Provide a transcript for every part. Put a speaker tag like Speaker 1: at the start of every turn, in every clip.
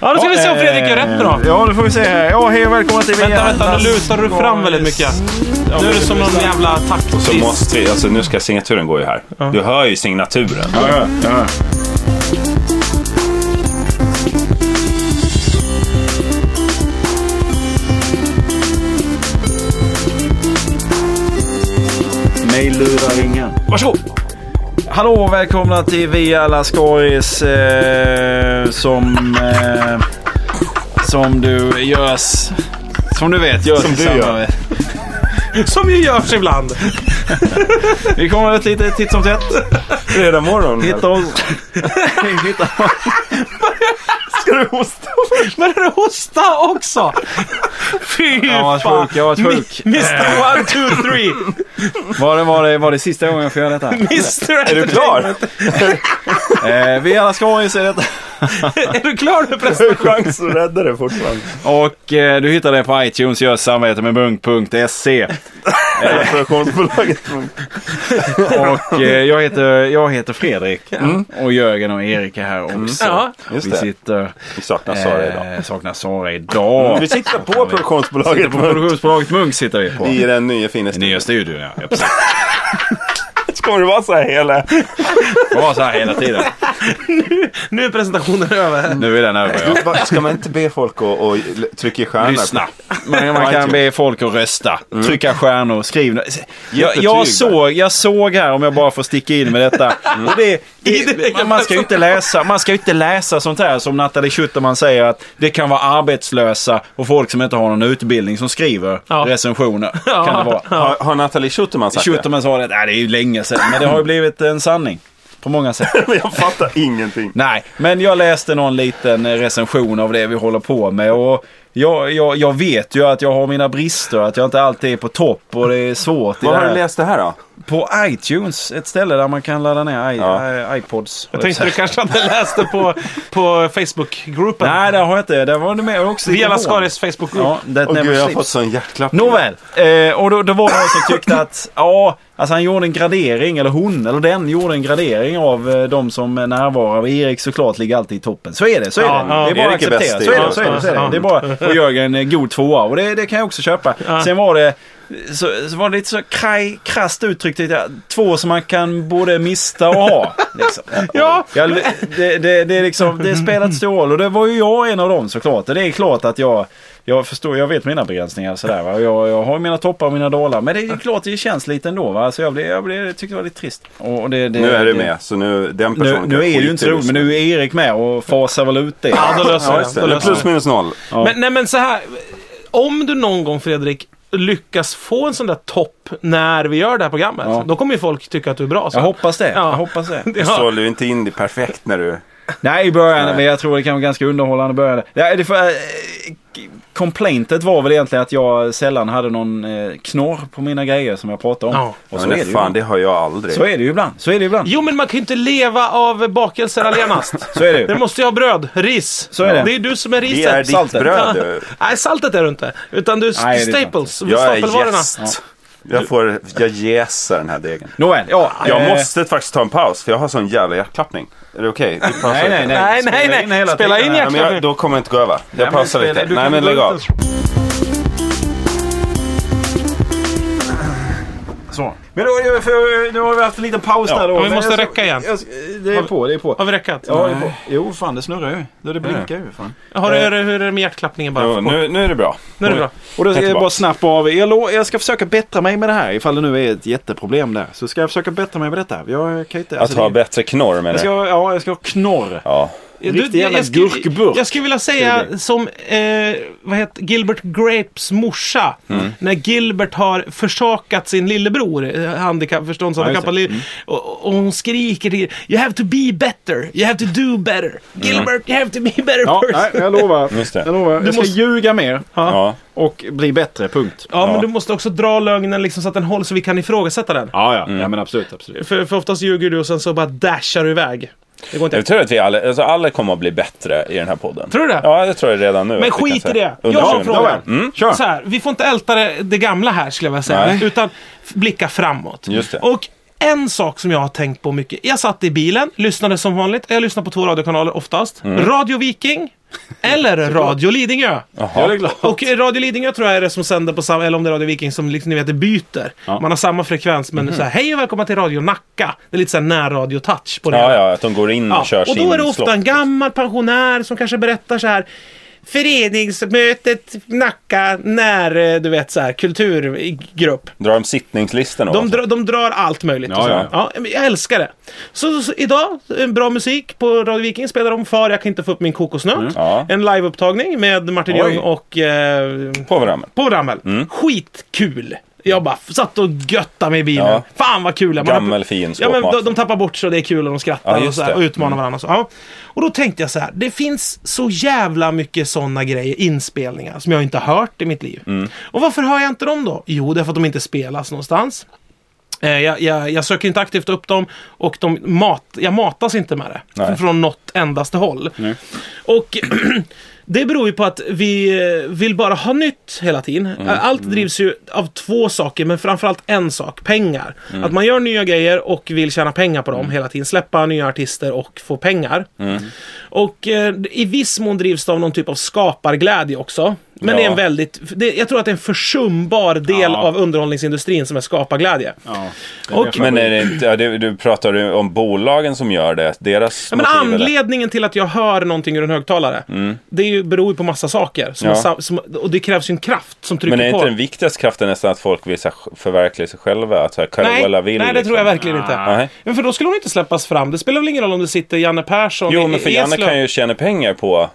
Speaker 1: Ja, då ska vi se om Fredrik gör rätt då.
Speaker 2: Ja, nu får vi se här. Ja, hej och välkomna till
Speaker 1: Vänta, vänta, nu lutar du fram väldigt mycket. Nu är det som någon jävla
Speaker 3: Så
Speaker 1: taktis.
Speaker 3: måste vi, alltså nu ska signaturen gå ju här. Du hör ju signaturen.
Speaker 2: Ja, ja, ja.
Speaker 4: Mig lurar ingen.
Speaker 3: Varsågod!
Speaker 2: Hallå och välkomna till Vi alla Skaris eh, som, eh, som du görs... Som du vet görs
Speaker 3: Som du
Speaker 2: tillsammans
Speaker 3: gör.
Speaker 2: med-
Speaker 1: Som ju görs ibland.
Speaker 2: Vi kommer ut lite titt som tätt.
Speaker 3: Fredag morgon.
Speaker 2: Hitta oss. Hitta oss.
Speaker 3: Ska du hosta?
Speaker 1: Men är det hosta också? Fy
Speaker 2: Jag har varit
Speaker 1: fan.
Speaker 2: sjuk, jag har varit sjuk.
Speaker 1: Mr One, two, three.
Speaker 2: Var det, var, det, var det sista gången jag får göra detta?
Speaker 1: Mr
Speaker 3: Är du klar?
Speaker 2: Eh, vi alla Skaris är detta.
Speaker 1: Är du klar med
Speaker 3: Du
Speaker 1: pressen?
Speaker 3: har chans att rädda det fortfarande.
Speaker 2: Och eh, du hittar det på iTunes, gör samarbete med bunk.se.
Speaker 3: Eh. Produktionsbolaget.
Speaker 2: Och eh, jag, heter, jag heter Fredrik och Jörgen och Erik är här också.
Speaker 1: Ja.
Speaker 3: Mm. Just
Speaker 2: vi
Speaker 3: det.
Speaker 2: sitter...
Speaker 3: Vi saknar Sara idag.
Speaker 2: Eh, saknar Sara idag.
Speaker 3: Eh. Vi sitter på
Speaker 2: sitter
Speaker 3: produktionsbolaget.
Speaker 2: på produktionsbolaget Munk sitter vi på.
Speaker 3: I den nya fina studion.
Speaker 2: Nya studion ja. ja. precis.
Speaker 3: Kommer det vara så här hela?
Speaker 2: Det var så här hela tiden.
Speaker 1: Nu är presentationen över.
Speaker 2: Nu är den över ja.
Speaker 3: Ska man inte be folk att och trycka i stjärnor?
Speaker 2: Lyssna. Man, man kan be folk att rösta. Trycka stjärnor, skriv. Jag, jag,
Speaker 3: Jättetyg,
Speaker 2: såg, jag såg här, om jag bara får sticka in med detta. Och det, Mm. det,
Speaker 1: direkta
Speaker 2: man, ska ju inte läsa, man ska ju inte läsa sånt här som Nathalie Schuterman säger att det kan vara arbetslösa och folk som inte har någon utbildning som skriver
Speaker 1: Ja.
Speaker 2: recensioner. Kan det vara.
Speaker 3: Har, har Nathalie Schuterman sagt
Speaker 2: Schuterman sa det, nej, det är ju länge sedan, men det har ju blivit en sanning. På många sätt.
Speaker 3: det? Jag fattar ingenting.
Speaker 2: Nej, men jag läste någon liten eh, recension av det vi håller på med. Och jag, jag, jag vet ju att jag har mina brister, att jag inte alltid är på topp och det är svårt. i
Speaker 3: Vad
Speaker 2: det
Speaker 3: har
Speaker 2: här.
Speaker 3: du läst det här då?
Speaker 2: På iTunes, ett ställe där man kan ladda ner i, i, iPods.
Speaker 1: Jag tänkte du kanske hade läst det på, på Facebookgruppen.
Speaker 2: Nej, det har jag inte. Där var du med också.
Speaker 1: Vi alla
Speaker 2: i
Speaker 1: Skaris Facebookgrupp.
Speaker 2: Ja, that
Speaker 3: Åh
Speaker 2: never
Speaker 3: gud, jag har
Speaker 2: sleeps.
Speaker 3: fått sån hjärtklapp.
Speaker 2: Nåväl, eh, och då, då var det någon som tyckte att ja, alltså han gjorde en gradering, eller hon, eller den gjorde en gradering av eh, de som är närvarande. Erik såklart ligger alltid i toppen. Så är det, så är
Speaker 1: Ja,
Speaker 2: det.
Speaker 1: ja.
Speaker 2: det är bara att
Speaker 3: Erik är bäst
Speaker 2: acceptera.
Speaker 3: i
Speaker 2: Så är
Speaker 3: det.
Speaker 2: det, så är det. Så är det.
Speaker 1: Ja.
Speaker 2: det är bara, och Jörgen är eh, god tvåa och det, det kan jag också köpa. Sen var det så, så var det lite så kraj, krasst uttryckt, lite, ja, två som man kan både mista och ha. Liksom.
Speaker 1: Ja.
Speaker 2: Jag, det, det, det, är liksom, det spelar inte stor roll och det var ju jag en av dem såklart. Och det är klart att jag, jag förstår, jag vet mina begränsningar sådär. Va? Och Jag, jag har mina toppar och mina dalar. Men det är klart det känns lite ändå. Va? Så jag, blev, jag, blev, jag tyckte det var lite trist. Och och det, det,
Speaker 3: Nu är
Speaker 2: det,
Speaker 3: du med, så nu den
Speaker 2: Nu,
Speaker 3: personen
Speaker 2: nu är det ju inte roligt men nu är Erik med och fasar väl ut det.
Speaker 1: Ja, då löser
Speaker 3: Ja,
Speaker 1: vi
Speaker 3: just
Speaker 1: det.
Speaker 3: det.
Speaker 1: Då
Speaker 3: Det är
Speaker 1: löser vi det.
Speaker 3: plus minus noll.
Speaker 1: Men, nej, men så här. Om du någon gång, Fredrik, lyckas få en sån där topp när vi gör det här programmet.
Speaker 2: Ja.
Speaker 1: Då kommer ju folk tycka att du är bra. Så.
Speaker 2: Jag hoppas det.
Speaker 1: Ja.
Speaker 2: Jag hoppas det.
Speaker 1: Ja.
Speaker 3: Sålde du inte in det perfekt när du...
Speaker 2: Nej, i början.
Speaker 3: Nej.
Speaker 2: Men jag tror det kan vara ganska underhållande i början. Nej, det för, eh, k- complaintet var väl egentligen att jag sällan hade någon eh, knorr på mina grejer som jag pratade om.
Speaker 1: Ja.
Speaker 2: Och
Speaker 3: Ja,
Speaker 2: så,
Speaker 3: men
Speaker 2: är det
Speaker 3: det,
Speaker 2: ju
Speaker 3: fan,
Speaker 2: ibland.
Speaker 3: det har jag aldrig.
Speaker 2: så är det ju ibland. Så är det ju ibland.
Speaker 1: Jo, men man kan ju inte leva av bakelser allenast.
Speaker 2: Så är det
Speaker 1: Det
Speaker 2: ju.
Speaker 1: måste ju ha bröd, ris.
Speaker 2: Så är det.
Speaker 1: det är du som är riset.
Speaker 3: det är ditt
Speaker 2: saltet.
Speaker 3: bröd du.
Speaker 1: Nej, saltet är du inte. Utan du är
Speaker 2: Nej, det är
Speaker 1: staples,
Speaker 3: Jag är
Speaker 1: stapelvarorna.
Speaker 3: gäst. Jag, får, jag jäser den här degen.
Speaker 2: Nåväl, ja.
Speaker 3: Jag
Speaker 2: eh,
Speaker 3: måste faktiskt ta en paus för jag har sån jävla hjärtklappning. Är det okej? Vi pausar
Speaker 2: Nej,
Speaker 3: lite.
Speaker 2: nej, nej.
Speaker 1: Nej, nej,
Speaker 2: Spela in
Speaker 1: nej.
Speaker 2: hela
Speaker 1: Spela
Speaker 2: tiden
Speaker 1: in
Speaker 2: här.
Speaker 3: Ja, men jag, då kommer jag inte gå över. Jag pausar
Speaker 2: spela-
Speaker 3: lite.
Speaker 2: du
Speaker 3: Nej
Speaker 2: kan
Speaker 3: men
Speaker 2: gå
Speaker 3: lägg
Speaker 2: ut
Speaker 3: av.
Speaker 2: Så. Men då, är det för, nu har vi haft en liten paus
Speaker 1: Ja,
Speaker 2: där då.
Speaker 1: men vi
Speaker 2: Men
Speaker 1: måste
Speaker 2: jag ska-
Speaker 1: räcka igen.
Speaker 2: jag ska- det är på, det är på.
Speaker 1: Har vi räckat?
Speaker 2: Ja, det är på. Jo, fan det snurrar ju. Då det blinkar ju. Fan.
Speaker 1: Har du, hur är det med hjärtklappningen bara?
Speaker 3: Jo, nu, nu är det bra.
Speaker 1: Nu är det bra.
Speaker 2: Och då ska
Speaker 3: Jag är
Speaker 2: jag bara
Speaker 3: tillbaka.
Speaker 2: snabba av. Jag, lo- jag ska försöka bättra mig med det här ifall det nu är ett jätteproblem där. Så ska jag försöka bättra mig med detta. Jag kan ju inte...
Speaker 3: Att
Speaker 2: alltså,
Speaker 3: ha
Speaker 2: det-
Speaker 3: bättre knorr menar
Speaker 2: jag ska,
Speaker 3: du?
Speaker 2: Ja, jag ska ha knorr.
Speaker 3: Ja.
Speaker 2: Riktig jävla
Speaker 1: jag skulle-
Speaker 2: gurkburk.
Speaker 1: Jag skulle vilja säga som eh, vad heter Gilbert Grapes morsa.
Speaker 2: Mm.
Speaker 1: När Gilbert har försakat sin lillebror, eh, handikapp, förståndshandikappad,
Speaker 2: Ja, Mm.
Speaker 1: ja, och, och hon skriker till You have to be better, you have to do better. Gilbert, you have to be a better
Speaker 2: Mm. Ja,
Speaker 1: person.
Speaker 2: nej, jag lovar.
Speaker 3: Just det.
Speaker 2: Jag, lovar. jag ska ljuga mer
Speaker 3: Ja.
Speaker 2: och bli bättre, punkt.
Speaker 1: Ja, men
Speaker 3: Ja.
Speaker 1: du måste också dra lögnen liksom så att den håller så vi kan ifrågasätta den.
Speaker 2: Ja, ja. ja men absolut, absolut.
Speaker 1: För, för oftast ljuger du och sen så bara dashar du iväg. Det går inte.
Speaker 3: Jag tror att vi alla, alltså alla kommer att bli bättre i den här podden.
Speaker 1: Tror du det?
Speaker 3: Ja, det tror jag redan nu.
Speaker 1: Men
Speaker 3: att vi
Speaker 1: skit
Speaker 3: kan
Speaker 1: i
Speaker 3: säga.
Speaker 1: det. Jag
Speaker 3: Under-
Speaker 1: har en fråga.
Speaker 2: Nåväl, Mm, kör.
Speaker 1: Så här, vi får inte älta det, det gamla här skulle jag vilja säga.
Speaker 3: Nej.
Speaker 1: Utan f- blicka framåt.
Speaker 3: Just det.
Speaker 1: Och en sak som jag har tänkt på mycket. Jag satt i bilen, lyssnade som vanligt. Jag lyssnar på två radiokanaler oftast.
Speaker 3: Mm.
Speaker 1: Radio Viking eller Radio Lidingö.
Speaker 2: Ja, det är klart.
Speaker 1: Och Radio Lidingö tror jag är det som sänder på samma, eller om det är Radio Viking som liksom, ni vet det byter.
Speaker 3: Ja. Mhm.
Speaker 1: Man har samma frekvens men så här, hej och välkomna till Radio Nacka. Det är lite så här närradio-touch på det.
Speaker 3: Ja, ja, att de går in och
Speaker 1: Ja,
Speaker 3: kör
Speaker 1: och
Speaker 3: sin
Speaker 1: då är det ofta
Speaker 3: slott.
Speaker 1: en gammal pensionär som kanske berättar så här Föreningsmötet Nacka när, eh, du vet så här, kulturgrupp.
Speaker 3: Drar de sittningslistorna?
Speaker 1: De,
Speaker 3: också?
Speaker 1: dra, de drar allt möjligt. och
Speaker 3: Ja,
Speaker 1: så.
Speaker 3: ja.
Speaker 1: Ja, men jag älskar det. Så, så, så idag, eh, bra musik på Radio Viking. Spelar om Far jag kan inte få upp min kokosnöt.
Speaker 3: Mm. Ja.
Speaker 1: En liveupptagning med Martin
Speaker 3: Oj. Mm.
Speaker 1: Ljung och eh,
Speaker 3: På varandra.
Speaker 1: på Ramel. Skitkul! Jag bara f- satt och göttade mig i bilen.
Speaker 3: Ja.
Speaker 1: Fan vad kul! Man har-
Speaker 3: Gammal fin
Speaker 1: ja, men
Speaker 3: skåpmat.
Speaker 1: de, de tappar bort så det är kul och de
Speaker 3: Ja,
Speaker 1: skrattar
Speaker 3: just
Speaker 1: och, så här,
Speaker 3: det. Mm.
Speaker 1: och utmanar varandra. Och, så. Ja. och då tänkte jag så här, det finns så jävla mycket sådana grejer, inspelningar, som jag inte har hört i mitt liv.
Speaker 3: Mm.
Speaker 1: Och varför hör jag inte dem då? Jo, därför att de inte spelas någonstans. Eh, Jag, jag, jag söker inte aktivt upp dem och de mat, jag matas inte med det.
Speaker 3: Nej.
Speaker 1: Från något endaste håll. Och det beror ju på att vi eh, vill bara ha nytt hela tiden.
Speaker 3: Mm.
Speaker 1: Allt drivs ju av två saker, men framförallt en sak. Pengar.
Speaker 3: Mm.
Speaker 1: Att man gör nya grejer och vill tjäna pengar på dem hela tiden. Släppa nya artister och få pengar.
Speaker 3: Mm.
Speaker 1: Och eh, i viss mån drivs det av någon typ av skaparglädje också. Men det är en
Speaker 3: Ja.
Speaker 1: väldigt, det, jag tror att det är en försumbar del
Speaker 2: Ja.
Speaker 1: av underhållningsindustrin som är skaparglädje.
Speaker 2: Ja.
Speaker 1: Och,
Speaker 3: Men är det inte, ja, det, du pratar ju om bolagen som gör det. Deras
Speaker 1: Ja, men
Speaker 3: motiv, eller?
Speaker 1: anledningen till att jag hör någonting ur en högtalare, det är ju, beror ju på massa saker. Som
Speaker 3: Mm. Ja.
Speaker 1: är sa- som, och det krävs ju en kraft som trycker
Speaker 3: Men är
Speaker 1: på.
Speaker 3: inte den viktigaste kraften nästan att folk vill så här, förverkliga sig själva? Att så här,
Speaker 1: Nej,
Speaker 3: Carola vill
Speaker 1: nej, det tror
Speaker 3: liksom.
Speaker 1: jag verkligen inte.
Speaker 3: Nej.
Speaker 1: Men för då skulle hon inte släppas fram. Det spelar väl ingen roll om det sitter Janne Persson
Speaker 3: Jo,
Speaker 1: i-
Speaker 3: men för
Speaker 1: i
Speaker 3: Janne
Speaker 1: Eslöv.
Speaker 3: kan ju tjäna pengar på...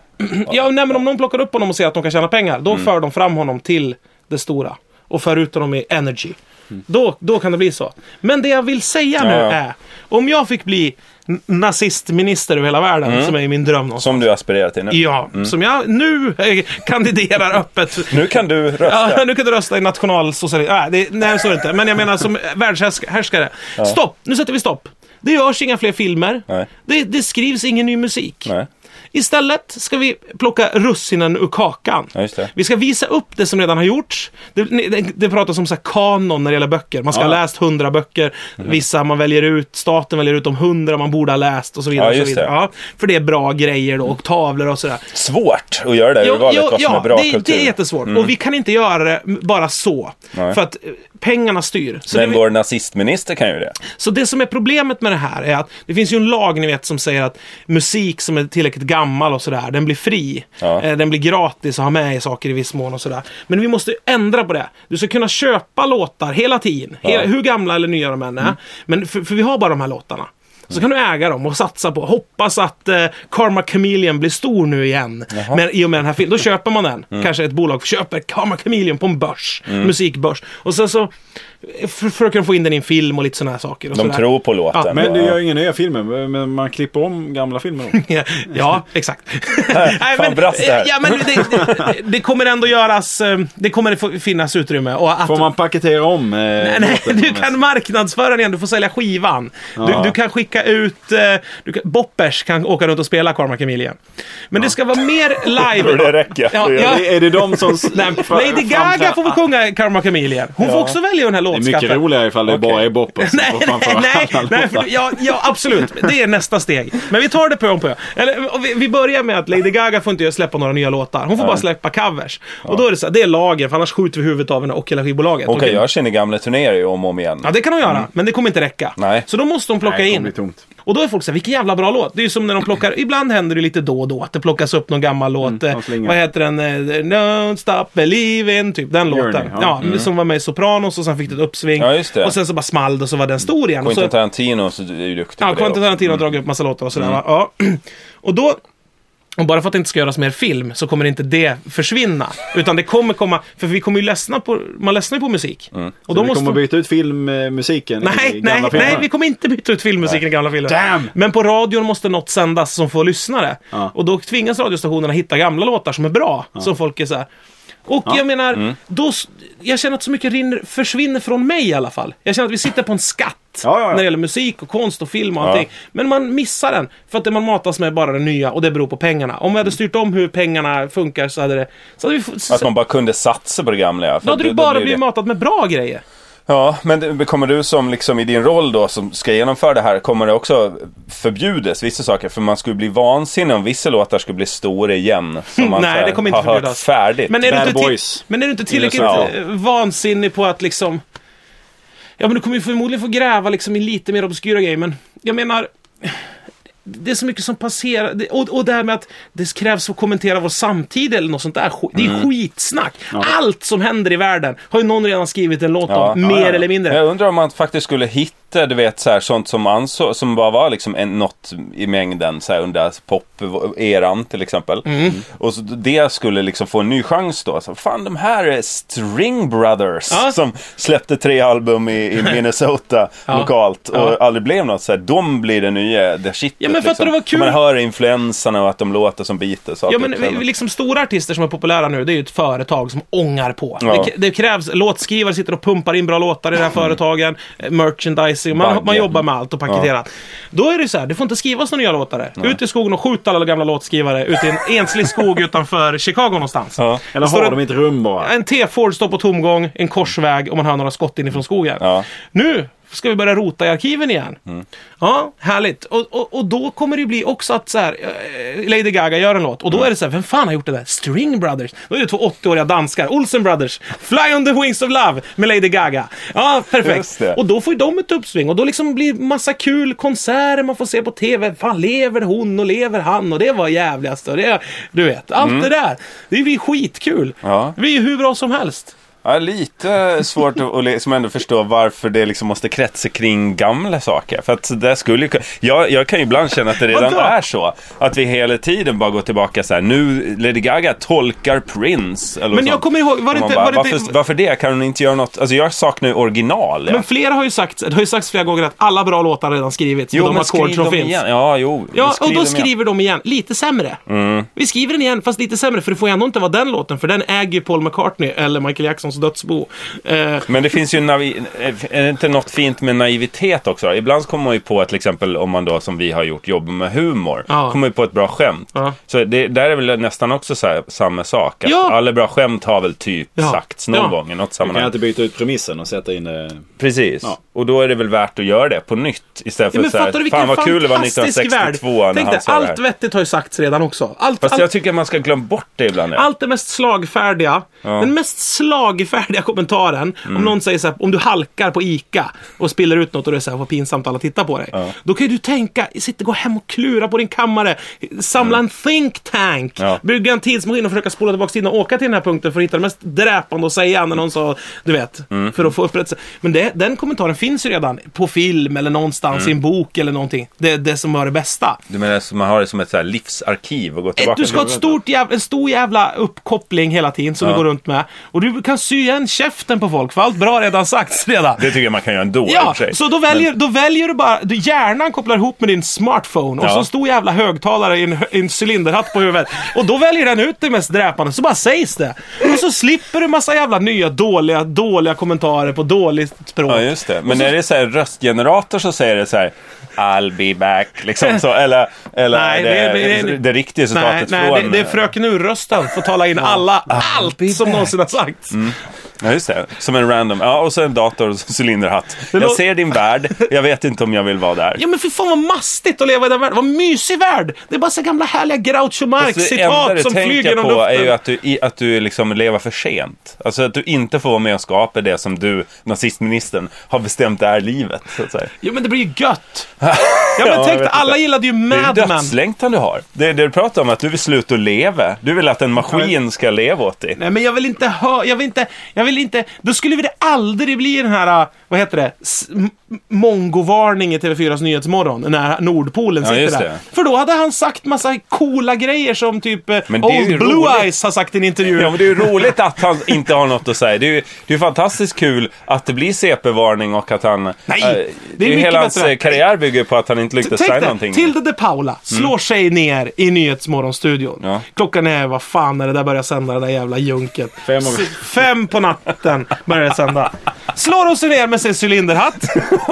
Speaker 1: Ja, nej, men om någon plockar upp honom och ser att de kan tjäna pengar,
Speaker 3: Mm.
Speaker 1: då för de fram honom till det stora. Och för ut honom i energy. Då, då kan det bli så. Men det jag vill säga nu
Speaker 3: Mm. Ja, ja.
Speaker 1: är, om jag fick bli n- nazistminister över hela världen, som är min dröm någonstans.
Speaker 3: Mm. Som Mm. du aspirerar till nu.
Speaker 1: Ja, som jag nu eh, kandiderar öppet.
Speaker 3: Nu kan du rösta.
Speaker 1: Ja, nu kan du rösta i nationalsocialism. Nej, det, nej, så är det inte. Men jag menar som världshärskare. Stopp! Nu sätter vi stopp. Det görs inga fler filmer.
Speaker 3: Nej.
Speaker 1: Det, det skrivs ingen ny musik.
Speaker 3: Nej.
Speaker 1: Istället ska vi plocka russinen ur kakan.
Speaker 3: Ja, just det.
Speaker 1: Vi ska visa upp det som redan har gjorts. Det, det, det pratas om så här kanon när det gäller böcker. Man ska ha läst hundra böcker.
Speaker 3: Mhm.
Speaker 1: Vissa man väljer ut, staten väljer ut de hundra man borde ha läst och så vidare.
Speaker 3: Ja,
Speaker 1: och
Speaker 3: just
Speaker 1: så vidare.
Speaker 3: det.
Speaker 1: Ja, för det är bra grejer då, och tavlor och sådär.
Speaker 3: Svårt att göra det här urvalet, vad som är bra
Speaker 1: det,
Speaker 3: kultur. Mm.
Speaker 1: det är jättesvårt. Och vi kan inte göra det bara så. För att eh, pengarna styr. Så det,
Speaker 3: Men
Speaker 1: vi-
Speaker 3: vår nazistminister kan ju det.
Speaker 1: så det som är problemet med det här är att det finns ju en lag ni vet som säger att musik som är tillräckligt gammal och sådär, den blir fri.
Speaker 3: Ja.
Speaker 1: Eh, Den blir gratis att ha med i saker i viss mån och sådär. Men vi måste ändra på det. Du ska kunna köpa låtar hela tiden, hela, hur gamla eller nya de än
Speaker 3: Mm.
Speaker 1: är. Men för, för vi har bara de här låtarna. Så kan du äga dem och satsa på. Hoppas att eh, Karma Chameleon blir stor nu igen. Men, I och med den här filmen. Då köper man den.
Speaker 3: Mm.
Speaker 1: Kanske ett bolag köper Karma Chameleon på en börs. Musikbörs. Och sen så eh, för- försöker de få in den i en film och lite sådana här saker. Och
Speaker 3: De
Speaker 1: sådär.
Speaker 3: tror på låten.
Speaker 1: Ja,
Speaker 2: Men
Speaker 3: Ja.
Speaker 2: du gör inga nya filmer, men man klipper om gamla filmer då?
Speaker 1: Ja, exakt. Nej,
Speaker 3: fan, brast det här.
Speaker 1: ja, men det, det, det kommer ändå göras, eh, det kommer få finnas utrymme. Och att,
Speaker 2: Får man paketera om? Eh,
Speaker 1: Nej, du kan marknadsföra den igen, du får sälja skivan. Du,
Speaker 2: Ja.
Speaker 1: du kan skicka ut, eh, du kan, Boppers kan åka runt och spela Karma Chameleon. Men det ska vara mer live.
Speaker 3: Tror det räcker.
Speaker 1: Ja,
Speaker 3: Det gör
Speaker 1: ja.
Speaker 2: Är, är det de som...
Speaker 1: Nej, Lady Gaga får väl sjunga Karma Chameleon. Hon får också välja den här
Speaker 2: Det är
Speaker 1: låtskatten.
Speaker 2: mycket roligare ifall det bara är boppers. som
Speaker 1: Nej,
Speaker 2: får
Speaker 1: nej,
Speaker 2: framföra
Speaker 1: nej,
Speaker 2: alla
Speaker 1: nej
Speaker 2: låtar.
Speaker 1: för, ja, ja, absolut. Det är nästa steg. Men vi tar det på om på. Eller, och vi, vi börjar med att Lady Gaga får inte göra- släppa några nya låtar. Hon får bara släppa covers. Och då är det så här, det är lagen, för annars skjuter vi huvudet av henne och hela skivbolaget.
Speaker 3: Hon kan
Speaker 1: Okej.
Speaker 3: göra sina gamla turnéer ju om och om igen.
Speaker 1: Ja, det kan hon göra, men det kommer inte räcka.
Speaker 3: Nej.
Speaker 1: Så då måste hon plocka
Speaker 2: Mm. Nej, det
Speaker 1: in.
Speaker 2: kommer bli tomt.
Speaker 1: Och då är folk så här, vilken jävla bra låt. Det är ju som när de plockar, ibland händer det lite då och då att det plockas upp någon gammal låt. eh,
Speaker 2: Mm, de slänger.
Speaker 1: vad heter den? eh, Don't stop believing, typ den
Speaker 2: Journey,
Speaker 1: låten.
Speaker 2: ja. Mm.
Speaker 1: Ja, Som var med i Sopranos och sen fick det ett uppsving.
Speaker 3: Ja, just det.
Speaker 1: Och sen så bara small det och så var den stor igen. Och så,
Speaker 3: Quentin Tarantino så du är ju duktig
Speaker 1: Ja,
Speaker 3: på det.
Speaker 1: Quentin
Speaker 3: också.
Speaker 2: Mm.
Speaker 1: Tarantino har dragit upp massa låtar och sådär. va? Ja. Och då, och bara för att det inte ska göras mer film så kommer inte det försvinna. Utan det kommer komma, för vi kommer ju ledsna på, man ledsnar ju på musik. Och då
Speaker 2: Mm. Vi
Speaker 1: måste...
Speaker 2: kommer byta ut filmmusiken i
Speaker 1: Nej, nej,
Speaker 2: gamla filmer.
Speaker 1: nej, vi kommer inte byta ut filmmusiken i gamla filmer.
Speaker 2: Damn!
Speaker 1: Men på radion måste något sändas som får lyssnare.
Speaker 2: Ja.
Speaker 1: Och då tvingas radiostationerna hitta gamla låtar som är bra, som folk är så här. Och jag menar,
Speaker 2: Mm.
Speaker 1: då, s- jag känner att så mycket rinner, försvinner från mig i alla fall. Jag känner att vi sitter på en skatt
Speaker 2: Ja, ja, ja.
Speaker 1: när det gäller musik och konst och film och allting. Men man missar den, för att det man matas med är bara det nya och det beror på pengarna. Om vi hade styrt om hur pengarna funkar så hade det... Så hade vi, f-
Speaker 3: Att man bara kunde satsa på det gamla. ja, för
Speaker 1: då hade
Speaker 3: det-
Speaker 1: du bara
Speaker 3: blir det-
Speaker 1: blivit matad med bra grejer.
Speaker 3: Ja, men det- kommer du som liksom i din roll då som ska genomföra det här, kommer det också förbjudas vissa saker? För man skulle bli vansinnig om vissa låtar skulle bli stora igen. Som man
Speaker 1: Nej,
Speaker 3: så här
Speaker 1: det kommer inte
Speaker 3: har hört
Speaker 1: förbjudas.
Speaker 3: färdigt.
Speaker 1: Men är,
Speaker 2: Bad
Speaker 1: du inte till,
Speaker 2: Boys.
Speaker 1: men är du inte tillräckligt
Speaker 3: USA.
Speaker 1: eh, vansinnig på att liksom... Ja, men du kommer ju förmodligen få gräva liksom i lite mer obskyra grejer, men jag menar... Det är så mycket som passerar. Det- Och, och det här med att det krävs att kommentera vår samtid eller något sånt där. sk- Det är
Speaker 3: Mm.
Speaker 1: skitsnack. Allt som händer i världen har ju någon redan skrivit en låt om,
Speaker 3: Ja, ja,
Speaker 1: mer
Speaker 3: ja.
Speaker 1: eller mindre.
Speaker 3: Jag undrar om man faktiskt skulle hitta, du vet, så här, sånt som, anså, som bara var liksom en, något i mängden så här, under pop-eran till exempel.
Speaker 1: Mm.
Speaker 3: Mm. Och så det skulle liksom få en ny chans då. Så, fan, de här är String Brothers
Speaker 1: Ja.
Speaker 3: som släppte tre album i, i Minnesota lokalt och
Speaker 1: Ja.
Speaker 3: aldrig blev något. Så här, de blir det nya, det shitet. liksom.
Speaker 1: Ja, men för att det var kul.
Speaker 3: Och Man hör influenserna och att de låter som Beatles. och
Speaker 1: Ja,
Speaker 3: allt
Speaker 1: men
Speaker 3: det
Speaker 1: vi-
Speaker 3: där.
Speaker 1: vi- liksom stora artister som är populära nu, det är ju ett företag som ångar på.
Speaker 3: Ja. Mm.
Speaker 1: Det, k- det krävs, låtskrivare sitter och pumpar in bra låtar i det här företagen, eh, merchandising, man,
Speaker 3: Baggen.
Speaker 1: man jobbar med allt och paketerat. Då är det ju så här, det får inte skrivas några nya låtar. Ut i skogen och skjut alla gamla låtskrivare ute i en enslig skog utanför Chicago någonstans.
Speaker 3: Ja.
Speaker 2: Eller
Speaker 1: Står
Speaker 2: har
Speaker 1: det-
Speaker 2: de inte rum bara?
Speaker 1: En T-Ford står på tomgång, en korsväg och man hör några skott inifrån skogen.
Speaker 3: Ja. Mm.
Speaker 1: Nu ska vi börja rota i arkiven igen. Ja, härligt. Och, och, och då kommer det ju bli också att så här, eh, Lady Gaga gör en låt och då
Speaker 3: Mm.
Speaker 1: är det så här, vem fan har gjort det där? String Brothers. Då är det två 80-åriga danskar, Olsen Brothers, Fly on the Wings of Love med Lady Gaga. Ja,
Speaker 3: Just
Speaker 1: perfekt.
Speaker 3: det.
Speaker 1: Och då får ju de ett uppsving och då liksom blir massa kul konserter man får se på TV. Fan, lever hon och lever han och det var jävligast och det, du vet, allt det där. Det blir skitkul.
Speaker 3: Mm. Ja.
Speaker 1: Det blir ju hur bra som helst.
Speaker 3: Ja, lite svårt att, att liksom ändå förstå varför det liksom måste kretsa kring gamla saker. För att det skulle ju, kun- jag, jag kan ju ibland känna att det redan
Speaker 1: Vadå?
Speaker 3: är så. Att vi hela tiden bara går tillbaka så här. Nu Lady Gaga tolkar Prince. Eller
Speaker 1: Men jag
Speaker 3: sånt.
Speaker 1: kommer ihåg, var
Speaker 3: Och
Speaker 1: det
Speaker 3: man
Speaker 1: inte-
Speaker 3: bara,
Speaker 1: var det inte-
Speaker 3: varför, varför det? Kan hon inte göra något? Alltså jag saknar ju original. ja.
Speaker 1: Men flera har ju sagt, det har ju sagts flera gånger att alla bra låtar redan skrivits. med de ackord som
Speaker 3: dem
Speaker 1: finns.
Speaker 3: igen. Ja, jo. men
Speaker 1: Ja, och
Speaker 3: dem
Speaker 1: då
Speaker 3: igen. Mm.
Speaker 1: skriver de igen, lite sämre. Vi skriver den igen, fast lite sämre, för det får ju ändå inte vara den låten, för den äger ju Paul McCartney eller Michael Jacksons dödsbo. Eh,
Speaker 3: Men det finns ju naiv... är det inte något fint med naivitet också? Ibland så kommer man ju på att till exempel om man då som vi har gjort jobbar med humor,
Speaker 1: Ja.
Speaker 3: kommer man ju på ett bra skämt.
Speaker 1: Ja.
Speaker 3: Så det, där är väl nästan också så här, samma sak. Att
Speaker 1: Ja.
Speaker 3: Alla bra skämt har väl typ
Speaker 1: Ja.
Speaker 3: sagts någon
Speaker 1: Ja.
Speaker 3: gång i något
Speaker 2: Man kan
Speaker 3: sammanhang.
Speaker 2: inte byta ut premissen och sätta in eh,
Speaker 3: Precis.
Speaker 2: Ja.
Speaker 3: Och då är det väl värt att göra det på nytt istället
Speaker 1: ja,
Speaker 3: för
Speaker 1: men
Speaker 3: så här,
Speaker 1: fattar du vilken
Speaker 3: fan vad kul det var
Speaker 1: fantastisk värld?
Speaker 3: 1962 när
Speaker 1: Tänk
Speaker 3: han
Speaker 1: dig,
Speaker 3: sa det
Speaker 1: allt
Speaker 3: här.
Speaker 1: vettigt har ju sagts redan också. Allt,
Speaker 3: Fast
Speaker 1: allt,
Speaker 3: jag tycker man ska glömma bort det ibland. ja.
Speaker 1: allt det mest slagfärdiga, den mest slagfärdiga kommentaren, om någon säger så här, om du halkar på ICA och spiller ut något och det är så här, vad pinsamt alla tittar på dig. Då kan ju du tänka, sitta, gå hem och klura på din kammare, samla en think tank,
Speaker 3: Ja.
Speaker 1: bygga en tidsmaskin och försöka spola tillbaka tiden och åka till den här punkten för att hitta det mest dräpande att säga när någon sa, du vet, för att få upprättelse. Men det, den kommentaren finns ju redan på film eller någonstans i en bok eller någonting. Det, det som var det bästa.
Speaker 3: Du menar så man har det som ett så här livsarkiv och gå tillbaka
Speaker 1: Du ska ha ett
Speaker 3: till-
Speaker 1: stort jävla, en stor jävla uppkoppling hela tiden som du går runt med. Och du kan sy igen käften på folk, för allt bra har redan sagts redan.
Speaker 3: Det tycker jag man kan göra ändå i och
Speaker 1: Ja,
Speaker 3: för sig.
Speaker 1: så då väljer, då väljer du bara, du, hjärnan kopplar ihop med din smartphone och
Speaker 3: Ja.
Speaker 1: så en stor jävla högtalare i en, hö- i en cylinderhatt på huvudet. Och då väljer den ut det mest dräpande, så bara sägs det. Och så slipper du massa jävla nya dåliga, dåliga kommentarer på dåligt språk.
Speaker 3: Ja, just det. Men är det så här röstgenerator så säger det så här I'll be back, liksom så. Eller, eller är
Speaker 1: Nej,
Speaker 3: det,
Speaker 1: det- det-
Speaker 3: det, det riktiga
Speaker 1: Nej,
Speaker 3: citatet
Speaker 1: nej
Speaker 3: från... eh,
Speaker 1: det, det är Fröken Ur-rösten får tala in alla, allt som någonsin har sagts.
Speaker 3: Ja, just det. Som en random. Ja, och så en dator och så en cylinderhatt.
Speaker 1: lå-
Speaker 3: Jag ser din värld, jag vet inte om jag vill vara där.
Speaker 1: Ja men för fan vad mastigt att leva i den världen. Vad mysig värld. Det är bara så gamla härliga Groucho
Speaker 3: Fast Alltså, det enda
Speaker 1: Marx-citat
Speaker 3: du
Speaker 1: som flyger
Speaker 3: tänker
Speaker 1: genom
Speaker 3: på
Speaker 1: luften.
Speaker 3: är ju att du, i, att du liksom lever för sent. Alltså att du inte får vara med och skapa det som du, nazistministern, har bestämt är livet. Så att säga.
Speaker 1: Jo men det blir ju gött. ja men
Speaker 3: jag
Speaker 1: tänk
Speaker 3: vet
Speaker 1: dig, alla
Speaker 3: inte.
Speaker 1: gillade ju
Speaker 3: Det är
Speaker 1: Mad
Speaker 3: ju
Speaker 1: Men.
Speaker 3: dödslängtan du har. Det är det du pratar om, att du vill sluta att leva. Du vill att en maskin ska leva åt dig.
Speaker 1: Nej men jag vill inte höra, jag vill inte, jag vill inte, då skulle vi det aldrig bli den här, äh, vad heter det, S- m- mongovarning i TV4s Nyhetsmorgon, när Nordpolen
Speaker 3: Ja,
Speaker 1: sitter
Speaker 3: just
Speaker 1: där.
Speaker 3: det.
Speaker 1: För då hade han sagt massa coola grejer som typ eh,
Speaker 3: Men det är ju
Speaker 1: Old Blue
Speaker 3: roligt.
Speaker 1: Eyes har sagt i en intervju.
Speaker 3: Ja, men det är ju roligt att han inte har något att säga. Det är ju det är ju fantastiskt kul att det blir CP-varning och att han...
Speaker 1: Nej,
Speaker 3: eh,
Speaker 1: det är
Speaker 3: det är ju
Speaker 1: mycket
Speaker 3: hela hans
Speaker 1: bättre.
Speaker 3: eh, karriär bygger på att han inte lyckades säga
Speaker 1: Tänk dig,
Speaker 3: någonting. Mm.
Speaker 1: Tilde de Paula slår sig ner i Nyhetsmorgonstudion.
Speaker 3: Ja.
Speaker 1: Klockan är, vad fan när det där börjar sända, det där jävla junket.
Speaker 2: Fem och-
Speaker 1: S- Fem på natten börjar det sända. Slår hon sig ner med sin cylinderhatt.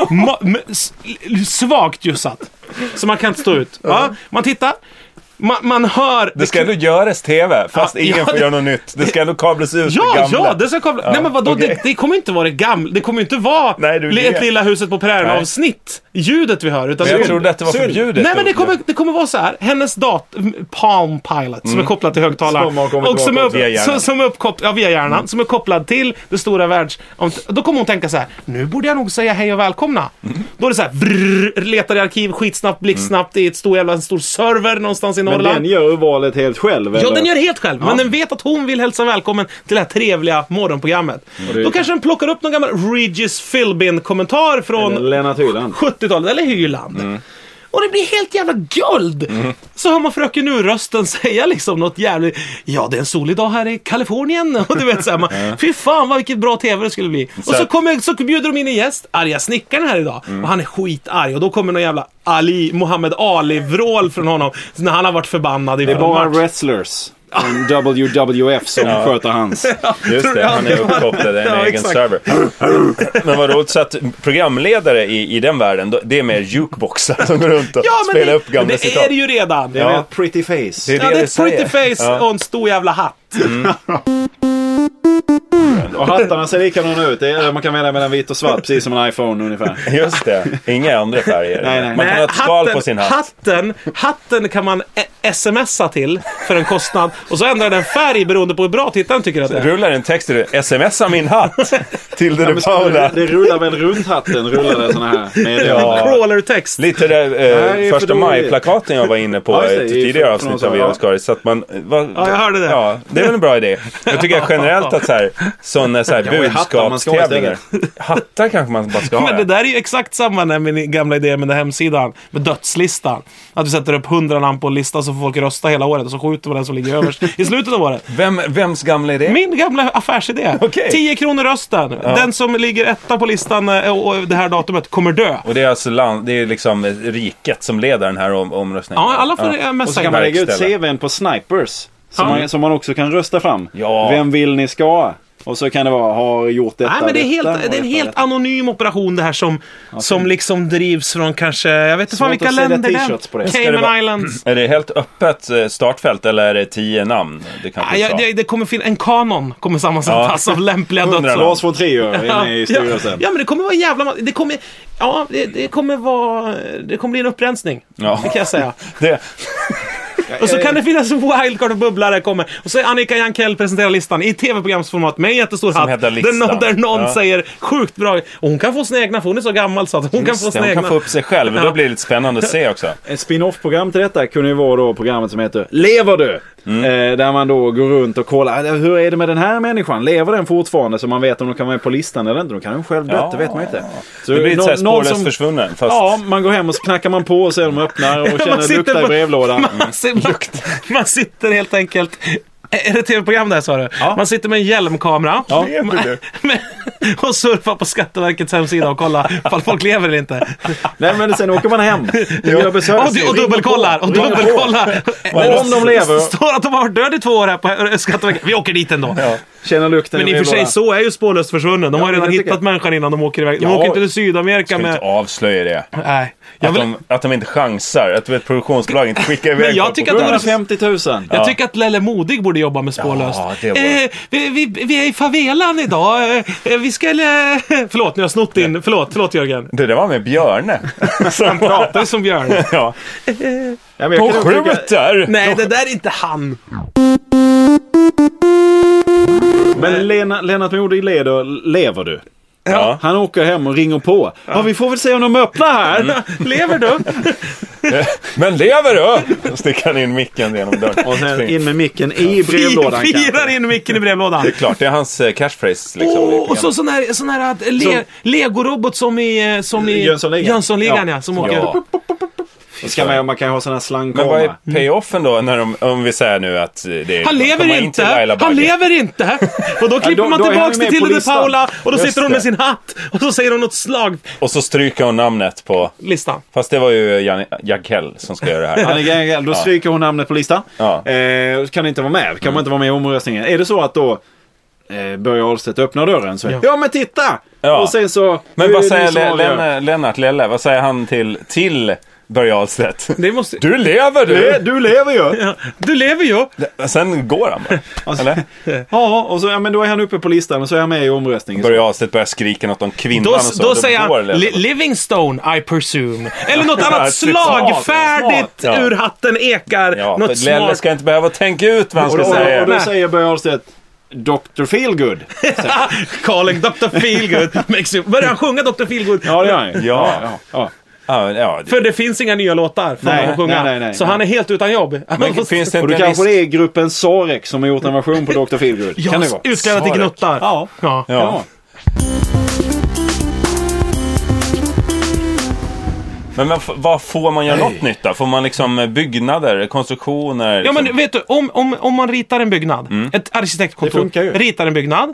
Speaker 1: Ma- m- s- l- svagt ljussatt. Så man kan inte stå ut. Va? Man tittar. man, man hör...
Speaker 3: Det ska ändå göras TV, fast
Speaker 1: Ja,
Speaker 3: ingen
Speaker 1: ja,
Speaker 3: får
Speaker 1: det-
Speaker 3: göra något nytt. Det ska ändå kablas ut
Speaker 1: Ja,
Speaker 3: det gamla.
Speaker 1: ja, det ska komma. Nej men vadå,
Speaker 3: okej.
Speaker 1: det, det kommer inte vara det gamla. Det kommer inte vara
Speaker 3: Nej, det är
Speaker 1: li-
Speaker 3: det.
Speaker 1: ett Lilla huset på prärien
Speaker 3: Nej.
Speaker 1: avsnitt. Ljudet vi hör. Utan
Speaker 3: Men jag
Speaker 1: det-
Speaker 3: trodde att det var förbjudet.
Speaker 1: Nej men det
Speaker 3: att-
Speaker 1: kommer, det kommer vara så här. Hennes dator, Palm Pilot, som är kopplad till högtalaren.
Speaker 2: Mm. Som har kommit
Speaker 1: och som är,
Speaker 2: tillbaka
Speaker 1: upp,
Speaker 3: via hjärnan.
Speaker 1: som, som är uppkopplad, ja, via hjärnan.
Speaker 2: Mm.
Speaker 1: Som är kopplad till det stora världs... om- Då kommer hon tänka så här. Nu borde jag nog säga hej och välkomna.
Speaker 2: Mm.
Speaker 1: Då är det så här. Brrr, letar i arkiv skitsnabbt, blixtsnabbt. Det är ett stor jävla, en stor server någonstans i
Speaker 2: Men
Speaker 1: Norrland.
Speaker 2: den gör ju valet helt själv.
Speaker 1: Ja,
Speaker 2: eller?
Speaker 1: den gör det helt själv. Men den vet att hon vill hälsa välkommen till det här trevliga morgonprogrammet.
Speaker 2: Mm. det-
Speaker 1: Då kanske den plockar upp någon gammal Regis Philbin-kommentar
Speaker 2: Eller
Speaker 1: från
Speaker 2: Lennart Hyland.
Speaker 1: 70-talet, eller Hyland.
Speaker 3: Mm.
Speaker 1: Och det blir helt jävla guld! Så hör man Fröken Nu-rösten säga liksom något jävligt... Ja, det är en solig dag här i Kalifornien. Och du vet såhär, man, fy fan vad vilket bra TV det skulle bli. och så,
Speaker 3: att- Mm.
Speaker 1: kommer, så bjuder de in en gäst, arga snickaren här idag. Och han är skitarg. Och då kommer någon jävla Ali, Muhammad Ali-vrål från honom. När han har varit förbannad i
Speaker 2: Det är bara
Speaker 1: match.
Speaker 2: wrestlers. Från WWF som sköter hans.
Speaker 3: Just det, han är uppkopplad i en
Speaker 1: Ja,
Speaker 3: egen
Speaker 1: exakt.
Speaker 3: server. Men vad roligt, så att programledare i, i den världen, då- det är mer jukeboxar som går runt och
Speaker 1: Ja, men
Speaker 3: spelar
Speaker 1: det,
Speaker 3: upp gamla
Speaker 1: det
Speaker 3: citat.
Speaker 1: är det ju redan.
Speaker 2: Det är
Speaker 3: Ja.
Speaker 2: ett pretty face.
Speaker 1: Ja, det är ett
Speaker 3: säger.
Speaker 1: pretty face och en stor jävla hatt.
Speaker 2: Och hattarna ser likadana ut. Det är, man kan välja mellan vitt och svart, precis som en iPhone ungefär.
Speaker 3: Just det, inga andra färger.
Speaker 2: Nej, nej.
Speaker 3: Man kan ha ett skal
Speaker 1: hatten,
Speaker 3: på sin hatt.
Speaker 1: Hatten, hatten kan man e- smsa till för en kostnad och så ändrar den färg beroende på hur bra tittaren tycker att det är.
Speaker 3: Rullar en text där det smsa min hatt till The Paula.
Speaker 2: Det rullar väl runt hatten, rullar det sådana här meddelanden.
Speaker 3: Ja.
Speaker 1: Crawler-text.
Speaker 3: Lite
Speaker 2: det
Speaker 3: där
Speaker 2: är
Speaker 3: eh,
Speaker 2: för
Speaker 3: första
Speaker 2: dåligt.
Speaker 3: maj-plakaten jag var inne på
Speaker 2: Ja,
Speaker 3: i
Speaker 2: just det,
Speaker 3: ett
Speaker 2: det är
Speaker 3: tidigare
Speaker 2: för-
Speaker 3: avsnitt
Speaker 2: för
Speaker 3: av
Speaker 2: någon
Speaker 3: Eran
Speaker 2: som-
Speaker 3: Skaris. Så att man... Va,
Speaker 1: Ja, jag hörde det.
Speaker 3: Ja, det är väl en bra idé. Jag tycker generellt att så här, sådana så här
Speaker 2: Ja, och i hattar man ska ha
Speaker 3: budskapstävlingar. Hattar kanske man bara ska ha.
Speaker 1: Men det där är ju exakt samma när min gamla idé med den här hemsidan. Med dödslistan. Att du sätter upp hundra namn på en lista så får folk rösta hela året och så skjuter man den som ligger överst i slutet av året.
Speaker 3: Vem, vems gamla idé?
Speaker 1: Min gamla affärsidé.
Speaker 3: Okej.
Speaker 1: 10 kronor rösten. Den som ligger etta på listan eh, och och det här datumet kommer dö.
Speaker 3: Och det är alltså land, det är liksom riket som leder den här om, omröstningen.
Speaker 1: Ja, alla får ja.
Speaker 2: Och så
Speaker 1: messa
Speaker 2: kan man lägga ut
Speaker 3: verkställa.
Speaker 2: CVn på snipers. Som,
Speaker 1: Ja.
Speaker 2: man, som man också kan rösta fram.
Speaker 3: Ja.
Speaker 2: Vem vill ni ska? Och så kan det vara, har gjort detta,
Speaker 1: Nej, men det är, helt,
Speaker 2: detta, och
Speaker 1: det är en
Speaker 2: detta,
Speaker 1: helt
Speaker 2: detta.
Speaker 1: anonym operation det här som, som liksom drivs från kanske, jag vet inte fan
Speaker 2: Svårt
Speaker 1: vilka
Speaker 2: att sälja
Speaker 1: länder det
Speaker 2: t-shirts på det.
Speaker 1: är.
Speaker 3: Ska det vara- Mm.
Speaker 1: Cayman Islands.
Speaker 3: Är det helt öppet eh, startfält eller är det tio namn? Det kan
Speaker 1: Nej, jag, det, det kommer finnas, en kanon kommer sammansättas
Speaker 3: Ja.
Speaker 1: av lämpliga
Speaker 3: Hundra
Speaker 1: dödsoffer.
Speaker 3: namn.
Speaker 2: Lars von Trier inne i
Speaker 1: Ja,
Speaker 2: styrelsen.
Speaker 1: ja, men det kommer vara en jävla ma- det kommer, Ja, det, det kommer vara... Det kommer bli en upprensning.
Speaker 3: Ja.
Speaker 1: Det kan jag säga.
Speaker 3: det,
Speaker 1: Och så kan det finnas en wildcard och bubblare kommer. Och så är Annika Jankell presenterar listan i tv-programsformat med en jättestor hatt.
Speaker 3: heter
Speaker 1: Där,
Speaker 3: listan.
Speaker 1: någon- där någon
Speaker 3: Ja.
Speaker 1: säger sjukt bra. Och hon kan få sina egna, för hon är så gammal så att hon kan få
Speaker 3: Just det,
Speaker 1: sina
Speaker 3: hon
Speaker 1: egna.
Speaker 3: kan få upp sig själv. Då blir det lite spännande att se också.
Speaker 2: Ett spin-off-program till detta kunde ju vara då programmet som heter Lever du?
Speaker 1: Mm.
Speaker 2: Eh, där man då går runt och kollar, eh, hur är det med den här människan? Lever den fortfarande? Så man vet om den kan vara med på listan eller inte. Då kan den själv dött,
Speaker 3: Ja.
Speaker 2: det vet man inte. Så
Speaker 3: Det blir lite
Speaker 2: någon-
Speaker 3: såhär
Speaker 2: någon
Speaker 3: spårlöst försvunnen. Fast
Speaker 2: Ja, man går hem och så knackar man på och ser om de öppnar och
Speaker 1: Ja, man
Speaker 2: känner lukta
Speaker 1: sitter
Speaker 2: i
Speaker 1: på-
Speaker 2: brevlådan. Mm.
Speaker 1: Man, si- man, man sitter helt enkelt... Är det tv-program där sa du? Man sitter med en hjälmkamera.
Speaker 3: Lever du?
Speaker 1: Med, och surfar på Skatteverkets hemsida och kollar ifall folk lever eller inte.
Speaker 2: Nej men sen åker man hem. Gör besök.
Speaker 1: Och, du- och dubbelkollar. Och dubbelkollar.
Speaker 2: Men om de lever.
Speaker 1: Står att de har varit döda i två år här på eh, Skatteverket. Vi åker dit ändå.
Speaker 2: Känner lukten
Speaker 1: Men i
Speaker 2: i
Speaker 1: och för sig
Speaker 2: brevlådan.
Speaker 1: så är ju spårlöst försvunnen. De har ju
Speaker 2: men
Speaker 1: redan
Speaker 2: jag
Speaker 1: hittat
Speaker 2: tycker-
Speaker 1: människan innan de åker iväg. De
Speaker 3: Ja,
Speaker 1: åker inte till
Speaker 3: ska
Speaker 1: Sydamerika
Speaker 3: vi inte
Speaker 1: med...
Speaker 3: avslöja det.
Speaker 1: Nej. Jag
Speaker 3: Att,
Speaker 1: vill,
Speaker 3: de, att de inte chansar. Att du vet, produktionsbolagen inte skickar iväg
Speaker 1: Men jag
Speaker 3: folk
Speaker 1: tycker
Speaker 3: på
Speaker 1: att det vore
Speaker 3: plats.
Speaker 2: 150 000.
Speaker 1: Jag tycker att Lelle Modig borde jobba med spårlöst.
Speaker 3: Ja, det vore-
Speaker 1: eh, vi, vi, vi är i favelan idag. Eh, vi ska... Eh, förlåt, nu har jag snott din... Förlåt, förlåt Jörgen.
Speaker 3: Det där var med Björne. Som
Speaker 1: Pratar ju som Björn.
Speaker 3: ja.
Speaker 2: Ja, men
Speaker 3: De
Speaker 2: jag kan nog tycka-
Speaker 3: skjuter!
Speaker 1: Nej, det där är inte han.
Speaker 2: Men Lena, Lennart Modig leder, lever du?
Speaker 3: Ja.
Speaker 2: Han åker hem och ringer på. Ja, vi får väl se om de öppnar här.
Speaker 3: Mm.
Speaker 1: Lever du?
Speaker 3: Men lever du? Och Sticker han in micken genom dörren.
Speaker 2: Och sen Mm. in med micken i brevlådan
Speaker 1: Vi firar
Speaker 2: kanske. Liksom,
Speaker 1: in micken i brevlådan.
Speaker 3: Det är klart, det är hans eh, catchphrase liksom. i
Speaker 1: Oh, och så
Speaker 3: programmet.
Speaker 1: sån här, sån här eh, le, legorobot som i, eh, som i
Speaker 2: Jönssonligan.
Speaker 1: Jönssonligan ja.
Speaker 2: Ja.
Speaker 1: som åker.
Speaker 3: ja.
Speaker 2: Och Ska man, man kan ha såna här
Speaker 3: Men vad är
Speaker 2: slangkameror.
Speaker 3: payoffen då? När de, om vi säger nu att eh, det är...
Speaker 1: Mm. Han
Speaker 3: de kommer
Speaker 1: lever
Speaker 3: in till
Speaker 1: inte!
Speaker 3: Laila
Speaker 1: Han
Speaker 3: Bagge.
Speaker 1: lever inte! Och då klipper
Speaker 2: då-
Speaker 1: man
Speaker 2: då är han
Speaker 1: tillbaks
Speaker 2: ju
Speaker 1: till
Speaker 2: med på
Speaker 1: Tilde de
Speaker 2: listan.
Speaker 1: Paula och då
Speaker 3: Just
Speaker 1: sitter hon med
Speaker 3: det.
Speaker 1: sin hatt och så säger hon något slag.
Speaker 3: Och så stryker hon namnet på...
Speaker 1: Listan.
Speaker 3: Fast det var ju Jan Jankell som ska göra det här.
Speaker 2: Annika Engel, Då stryker hon namnet på listan.
Speaker 3: Ja.
Speaker 2: Eh, kan inte vara med. Kan man inte vara med i omröstningen. Är det så att då eh, Börje Ahlstedt öppnar dörren så
Speaker 1: Ja.
Speaker 2: ja. ja men titta!
Speaker 3: Ja.
Speaker 2: Och sen så...
Speaker 3: Men
Speaker 2: nu är
Speaker 3: vad
Speaker 2: det
Speaker 3: säger
Speaker 2: som
Speaker 3: Le
Speaker 2: avgör.
Speaker 3: Lenne, Lennart Lelle? Vad säger han till, till Börje Ahlstedt.
Speaker 1: Det måste...
Speaker 3: Du lever
Speaker 2: Du,
Speaker 3: du!
Speaker 2: du lever ju!
Speaker 1: Ja, du Alltså- lever ju!
Speaker 3: Sen går han bara. Eller?
Speaker 2: Ja, och så, ja, men då är han uppe på listan och så är han med i omröstningen.
Speaker 3: Börje Ahlstedt börjar skrika något om kvinnan
Speaker 1: Då,
Speaker 3: och så.
Speaker 1: då säger
Speaker 3: går
Speaker 1: han
Speaker 3: det.
Speaker 1: "Li- Livingstone, I presume. Eller något
Speaker 3: Ja,
Speaker 1: annat slagfärdigt
Speaker 3: smart, ja.
Speaker 1: ur hatten ekar.
Speaker 3: Ja,
Speaker 1: något
Speaker 3: för Lelle
Speaker 1: smart.
Speaker 3: ska inte behöva tänka ut vad han
Speaker 2: Och
Speaker 3: ska
Speaker 2: då,
Speaker 3: säga.
Speaker 2: och då
Speaker 1: Nej.
Speaker 2: säger Börje Ahlstedt Dr. Feelgood.
Speaker 1: Calling Dr. Feelgood. makes you- Börjar han sjunga Dr. Feelgood?
Speaker 2: Ja, det gör han ju.
Speaker 3: Ja.
Speaker 2: ja, ja.
Speaker 3: Ja, men, ja, det-
Speaker 1: För det finns inga nya låtar för
Speaker 2: Nej,
Speaker 1: honom att sjunga.
Speaker 2: nej, nej, nej,
Speaker 1: så
Speaker 2: nej.
Speaker 1: han är helt utan jobb.
Speaker 3: men finns det
Speaker 2: Och
Speaker 3: inte
Speaker 2: det
Speaker 3: en
Speaker 2: kanske
Speaker 3: lista?
Speaker 2: det är gruppen Sarek som har gjort en version på Dr. Feelgood. Kan det vara?
Speaker 1: Utklädda till
Speaker 3: Sarek.
Speaker 1: gnuttar. Ja. ja.
Speaker 3: Ja. Men vad, f- vad får man göra något nytt då? Får man liksom eh, byggnader, konstruktioner?
Speaker 1: Ja
Speaker 3: Liksom? Mm.
Speaker 1: men vet du, om, om, om man ritar en byggnad, ett
Speaker 2: Det
Speaker 1: arkitektkontor
Speaker 2: funkar ju.
Speaker 1: ritar en byggnad.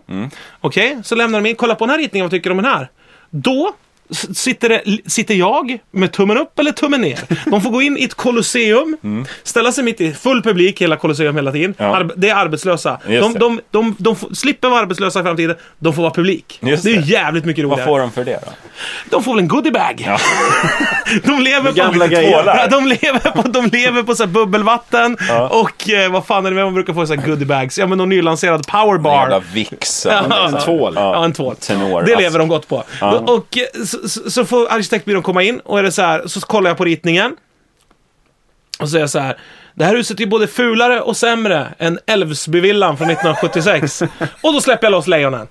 Speaker 1: Okej, så lämnar de in, kolla på den här ritningen, vad tycker du om den här? Då s- sitter, det, sitter jag med tummen upp eller tummen ner. De får gå in i ett kolosseum, ställa sig mitt i full publik, hela kolosseum hela tiden.
Speaker 3: Mm. Ja.
Speaker 1: Arb- det är arbetslösa.
Speaker 3: Just
Speaker 1: De,
Speaker 3: det.
Speaker 1: de, de, de får, slipper vara arbetslösa i framtiden, de får vara publik.
Speaker 3: Just
Speaker 1: det är
Speaker 3: det.
Speaker 1: ju jävligt mycket
Speaker 3: vad
Speaker 1: roligare.
Speaker 3: får de för det då?
Speaker 1: De får väl en goodiebag. de lever på...
Speaker 2: Gamla grejer.
Speaker 1: Ja, de lever på, de lever på så här bubbelvatten
Speaker 3: Ja.
Speaker 1: och eh, vad fan är det med man brukar få så här goodiebags? Ja men någon nylanserad powerbar.
Speaker 3: Jävla Vicks.
Speaker 1: Ja.
Speaker 2: En tvål.
Speaker 1: Ja, en tvål.
Speaker 3: Tenor,
Speaker 1: det
Speaker 3: alltså.
Speaker 1: lever de gott på. Och, och eh, så, så, så får arkitektbyrån komma in och är det så här, så kollar jag på ritningen. Och så är jag så här. Det här huset är både fulare och sämre än Älvsbyvillan från 1976. och då släpper jag loss lejonen.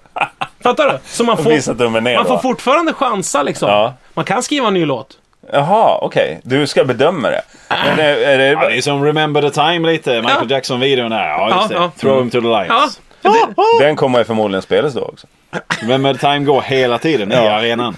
Speaker 1: Fattar du? Så man
Speaker 3: Och
Speaker 1: får,
Speaker 3: visar tummen ner
Speaker 1: man får
Speaker 3: då.
Speaker 1: fortfarande chansa liksom.
Speaker 3: Ja.
Speaker 1: Man kan skriva en ny låt.
Speaker 3: Jaha, okej. Du ska bedöma det. Men är, är det...
Speaker 2: Ja, det är som Remember the Time lite. Michael
Speaker 1: Ja.
Speaker 2: Jackson-videon där. Ja, just
Speaker 1: Ja,
Speaker 2: det.
Speaker 1: ja.
Speaker 2: Throw him to the lions.
Speaker 1: Ja.
Speaker 3: Den kommer ju förmodligen spelas då också.
Speaker 2: Remember the Time går hela tiden i arenan.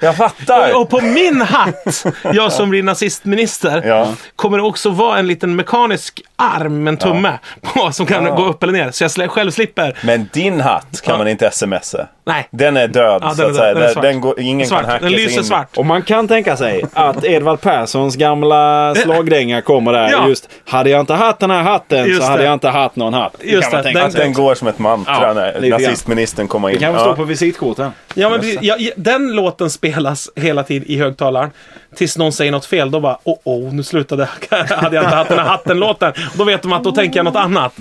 Speaker 3: Jag fattar!
Speaker 1: Och på min hatt, jag som blir nazistminister,
Speaker 3: Ja.
Speaker 1: kommer det också vara en liten mekanisk arm, en tumme, på, som kan gå upp eller ner. Så jag slä- själv slipper.
Speaker 3: Men din hatt kan
Speaker 1: Ja.
Speaker 3: man inte smsa.
Speaker 1: Nej.
Speaker 3: Den är död,
Speaker 1: Ja, den
Speaker 3: så
Speaker 1: är
Speaker 3: att
Speaker 1: död.
Speaker 3: säga.
Speaker 1: Den är
Speaker 3: Den,
Speaker 1: svart.
Speaker 3: den går, ingen
Speaker 1: svart.
Speaker 3: kan hacka
Speaker 1: Den
Speaker 3: sig
Speaker 1: lyser
Speaker 3: in.
Speaker 1: svart.
Speaker 2: Och man kan tänka sig att Edvard Perssons gamla slagdänga kommer där.
Speaker 1: Ja.
Speaker 2: Just, hade jag inte haft den här hatten
Speaker 1: Just
Speaker 2: så hade
Speaker 1: det.
Speaker 2: jag inte haft någon hatt.
Speaker 1: Just
Speaker 2: kan
Speaker 1: det,
Speaker 2: man tänka
Speaker 1: den-
Speaker 3: Att
Speaker 2: sig.
Speaker 3: den går som ett mantra
Speaker 2: Ja,
Speaker 3: när
Speaker 2: lite grann.
Speaker 3: nazistministern kommer in.
Speaker 2: Det kan
Speaker 3: Ja.
Speaker 2: få stå på visitkorten.
Speaker 1: Ja, men precis. ja, ja, den låten spelas hela tiden i högtalaren. Tills någon säger något fel, då bara oh, oh nu slutade hade jag inte haft den här hatten-låten. Då vet de att då tänker jag något annat.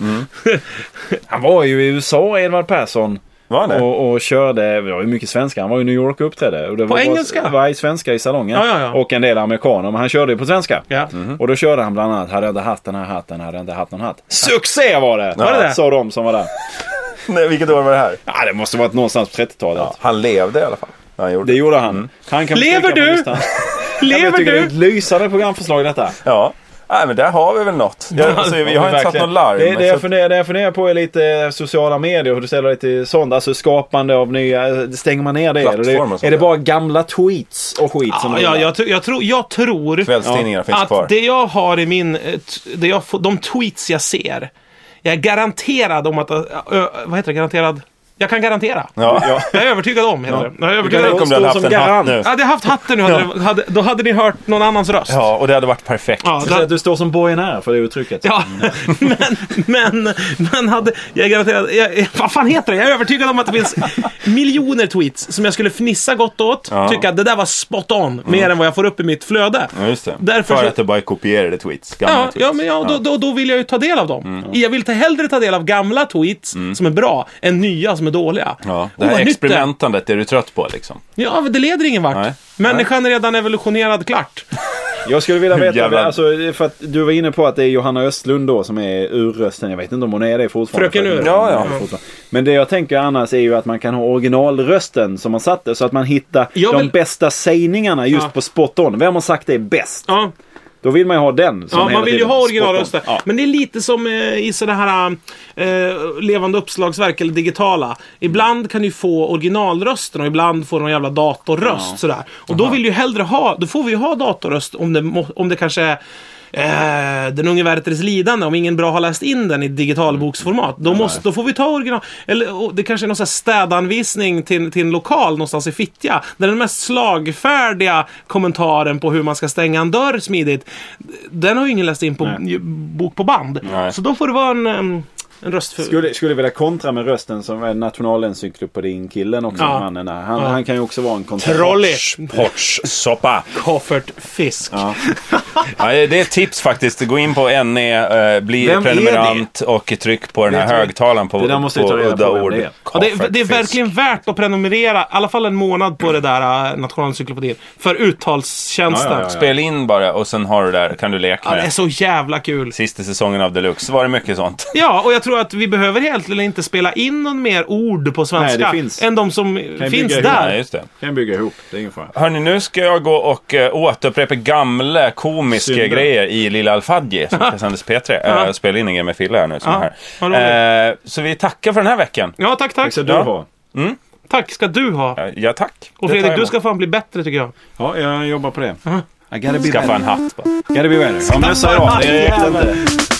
Speaker 2: Han var ju i USA, Edvard Persson.
Speaker 3: Var han det?
Speaker 2: Och, och körde, det var ju mycket svenska. Han var i New York och uppträdde. Och det
Speaker 1: På
Speaker 2: var
Speaker 1: engelska?
Speaker 2: Varje svenska i salongen.
Speaker 1: Ja, ja, ja.
Speaker 2: Och en del amerikaner. Men han körde ju på svenska. Mm-hmm.
Speaker 1: Ja.
Speaker 2: Och då körde han bland annat, hade jag inte haft den här hatten, hade jag inte haft någon hatt. Succé var det!
Speaker 1: Var det det?
Speaker 2: Sa de som var där.
Speaker 3: Nej, vilket år var det här?
Speaker 2: Ja, det måste varit någonstans på 30-talet.
Speaker 3: Han levde i alla fall. Ja, Han gjorde.
Speaker 2: Det
Speaker 3: Det
Speaker 2: gjorde han. han kan
Speaker 1: Mm. Lever
Speaker 2: stryka på
Speaker 1: du?
Speaker 2: listan. Ja, men jag
Speaker 1: Lever
Speaker 2: tycker det är
Speaker 1: du?
Speaker 2: ett lysande programförslag detta.
Speaker 3: Ja. Nej, men där har vi väl något. Jag, alltså, jag har inte satt
Speaker 2: Verkligen.
Speaker 3: någon larm.
Speaker 2: Det, det,
Speaker 3: så-
Speaker 2: jag funderar, det jag funderar på är lite sociala medier, hur du ställer dig till sånt. Alltså skapande av nya, stänger man ner det? Eller
Speaker 3: Plattformar och
Speaker 2: det
Speaker 3: sånt,
Speaker 2: är det
Speaker 3: ja.
Speaker 2: bara gamla tweets och skit som
Speaker 1: Ja,
Speaker 2: rullar?
Speaker 1: ja, jag, tr- jag, tror- jag tror
Speaker 3: Kvällstidningarna finns
Speaker 1: att
Speaker 3: kvar.
Speaker 1: det jag har i min... eh, t- Det jag, får- de tweets jag ser. Jag är garanterad om att... ö- ö- vad heter det? Garanterad? Jag kan garantera.
Speaker 3: Ja. Ja.
Speaker 1: Jag är övertygad om. heter det. Jag är övertygad
Speaker 3: Tänk
Speaker 1: om.
Speaker 3: om du hade haft
Speaker 2: som
Speaker 3: en hatt
Speaker 2: garant.
Speaker 3: nu.
Speaker 1: Hade jag haft hatten nu, hade, det- hade, då hade ni hört någon annans röst.
Speaker 3: Ja, och det hade varit perfekt.
Speaker 1: Ja,
Speaker 2: Du
Speaker 1: då-
Speaker 2: säger att du står som borgenär för det uttrycket.
Speaker 1: Ja, men, men, men hade, jag är garanterad, jag, vad fan heter det? Jag är övertygad om att det finns miljoner tweets som jag skulle fnissa gott åt,
Speaker 3: Ja. Mm.
Speaker 1: tycka att det där var spot on, mer än vad jag får upp i mitt flöde.
Speaker 3: Ja, just det.
Speaker 1: Därför
Speaker 3: För
Speaker 1: så-
Speaker 3: att du bara kopierade tweets. Gamla
Speaker 1: Ja,
Speaker 3: tweets.
Speaker 1: ja, men ja, då, då, då vill jag ju ta del av dem. Jag vill ta, hellre ta del av gamla tweets som är bra, än nya som är dåliga.
Speaker 3: Ja,
Speaker 1: Oh,
Speaker 3: det här
Speaker 1: vad nytt är.
Speaker 3: experimentandet är du trött på liksom.
Speaker 1: Ja, men det leder ingen vart.
Speaker 3: Nej.
Speaker 1: Människan är redan evolutionerad klart.
Speaker 2: Jag skulle vilja veta,
Speaker 3: Jävlar.
Speaker 2: alltså, för att du var inne på att det är Johanna Östlund då som är urrösten. Jag vet inte om hon är det fortfarande.
Speaker 1: Fröken Ur.
Speaker 3: Ja, ja.
Speaker 2: Fortfarande. Men det jag tänker annars är ju att man kan ha originalrösten som man satte så att man hittar
Speaker 1: Jag
Speaker 2: de
Speaker 1: vill-
Speaker 2: bästa sägningarna just
Speaker 1: Ja.
Speaker 2: på spot on. Vem har sagt det bäst?
Speaker 1: Ja,
Speaker 2: Då vill man ju ha den. Som
Speaker 1: ja
Speaker 2: hela
Speaker 1: man vill ju
Speaker 2: tiden
Speaker 1: ha
Speaker 2: spot on.
Speaker 1: originalröster.
Speaker 2: Ja.
Speaker 1: Men det är lite som eh, i sådana här eh, levande uppslagsverk eller digitala. Ibland kan du få originalrösten och ibland får du någon jävla datorröst. Sådär. Och då vill du ju hellre ha, då får vi ju ha datorröst om det, må- om det kanske är Eh, den unge värteres lidande, om ingen bra har läst in den i digitalboksformat. Då, måste, då får vi ta original... Eller och det kanske är någon sån här städanvisning till, till en lokal någonstans i Fittja. Där den mest slagfärdiga kommentaren på hur man ska stänga en dörr smidigt. Den har ju ingen läst in på ju- bok på band.
Speaker 3: Nej.
Speaker 1: Så då får det vara en... em, En röst för...
Speaker 2: Skulle, skulle vilja kontra med rösten som är nationalencyklopedin-killen också.
Speaker 1: Ja.
Speaker 2: Mannen där. Han,
Speaker 1: Ja.
Speaker 2: han kan ju också vara en kontra.
Speaker 1: Trolley!
Speaker 3: Portssoppa.
Speaker 1: Koffert Fisk.
Speaker 2: Ja.
Speaker 3: Ja, det är ett tips faktiskt. Gå in på NE, eh, bli
Speaker 2: Vem är
Speaker 3: prenumerant och tryck på den här
Speaker 2: Vet vi-
Speaker 3: högtalaren på,
Speaker 2: det där måste vi
Speaker 3: på
Speaker 2: ta reda
Speaker 3: udda
Speaker 2: på vem
Speaker 3: ord.
Speaker 2: det är.
Speaker 1: Ja, det, är-
Speaker 3: Kaffet,
Speaker 1: det är
Speaker 3: fisk.
Speaker 1: verkligen värt att prenumerera, i alla fall en månad på det där äh, Nationalencyklopedin. För uttalstjänsten.
Speaker 2: Ja,
Speaker 1: Ja,
Speaker 2: ja, ja.
Speaker 3: Spela in bara och sen har du där, kan du leka med
Speaker 1: det är
Speaker 3: det.
Speaker 1: så jävla kul.
Speaker 3: Sista säsongen av Deluxe så var det mycket sånt.
Speaker 1: Ja, och jag tror att vi behöver egentligen inte spela in någon mer ord på svenska
Speaker 2: Nej, det finns.
Speaker 1: än de som finns
Speaker 2: bygga
Speaker 1: där.
Speaker 3: Nej, just det.
Speaker 2: Kan bygga ihop. Det är ingen fara.
Speaker 3: Hörni, nu ska jag gå och eh, återupprepa gamla komiska
Speaker 2: Synder.
Speaker 3: grejer i Lilla Alfadji som ska sändas på P3.
Speaker 1: Ja.
Speaker 3: Eh, Jag spelar in en grej med Fille här nu. Som
Speaker 1: Ja,
Speaker 3: är
Speaker 1: vad
Speaker 3: här. Eh, så vi tackar för den här veckan.
Speaker 1: Ja, tack,
Speaker 2: Tack
Speaker 1: tack.
Speaker 2: ska du
Speaker 3: Ja.
Speaker 2: ha.
Speaker 1: Tack ska du ha.
Speaker 3: Eh, Ja, tack.
Speaker 1: Och
Speaker 3: Det tar
Speaker 1: Fredrik,
Speaker 3: jag
Speaker 1: du
Speaker 3: emot.
Speaker 1: ska fan bli bättre tycker jag.
Speaker 2: Ja, jag jobbar på det. I gotta be
Speaker 3: skaffa en
Speaker 2: better.
Speaker 3: hatt. Bara.
Speaker 2: Gotta be better. Ja, mössa idag. Det räckte inte.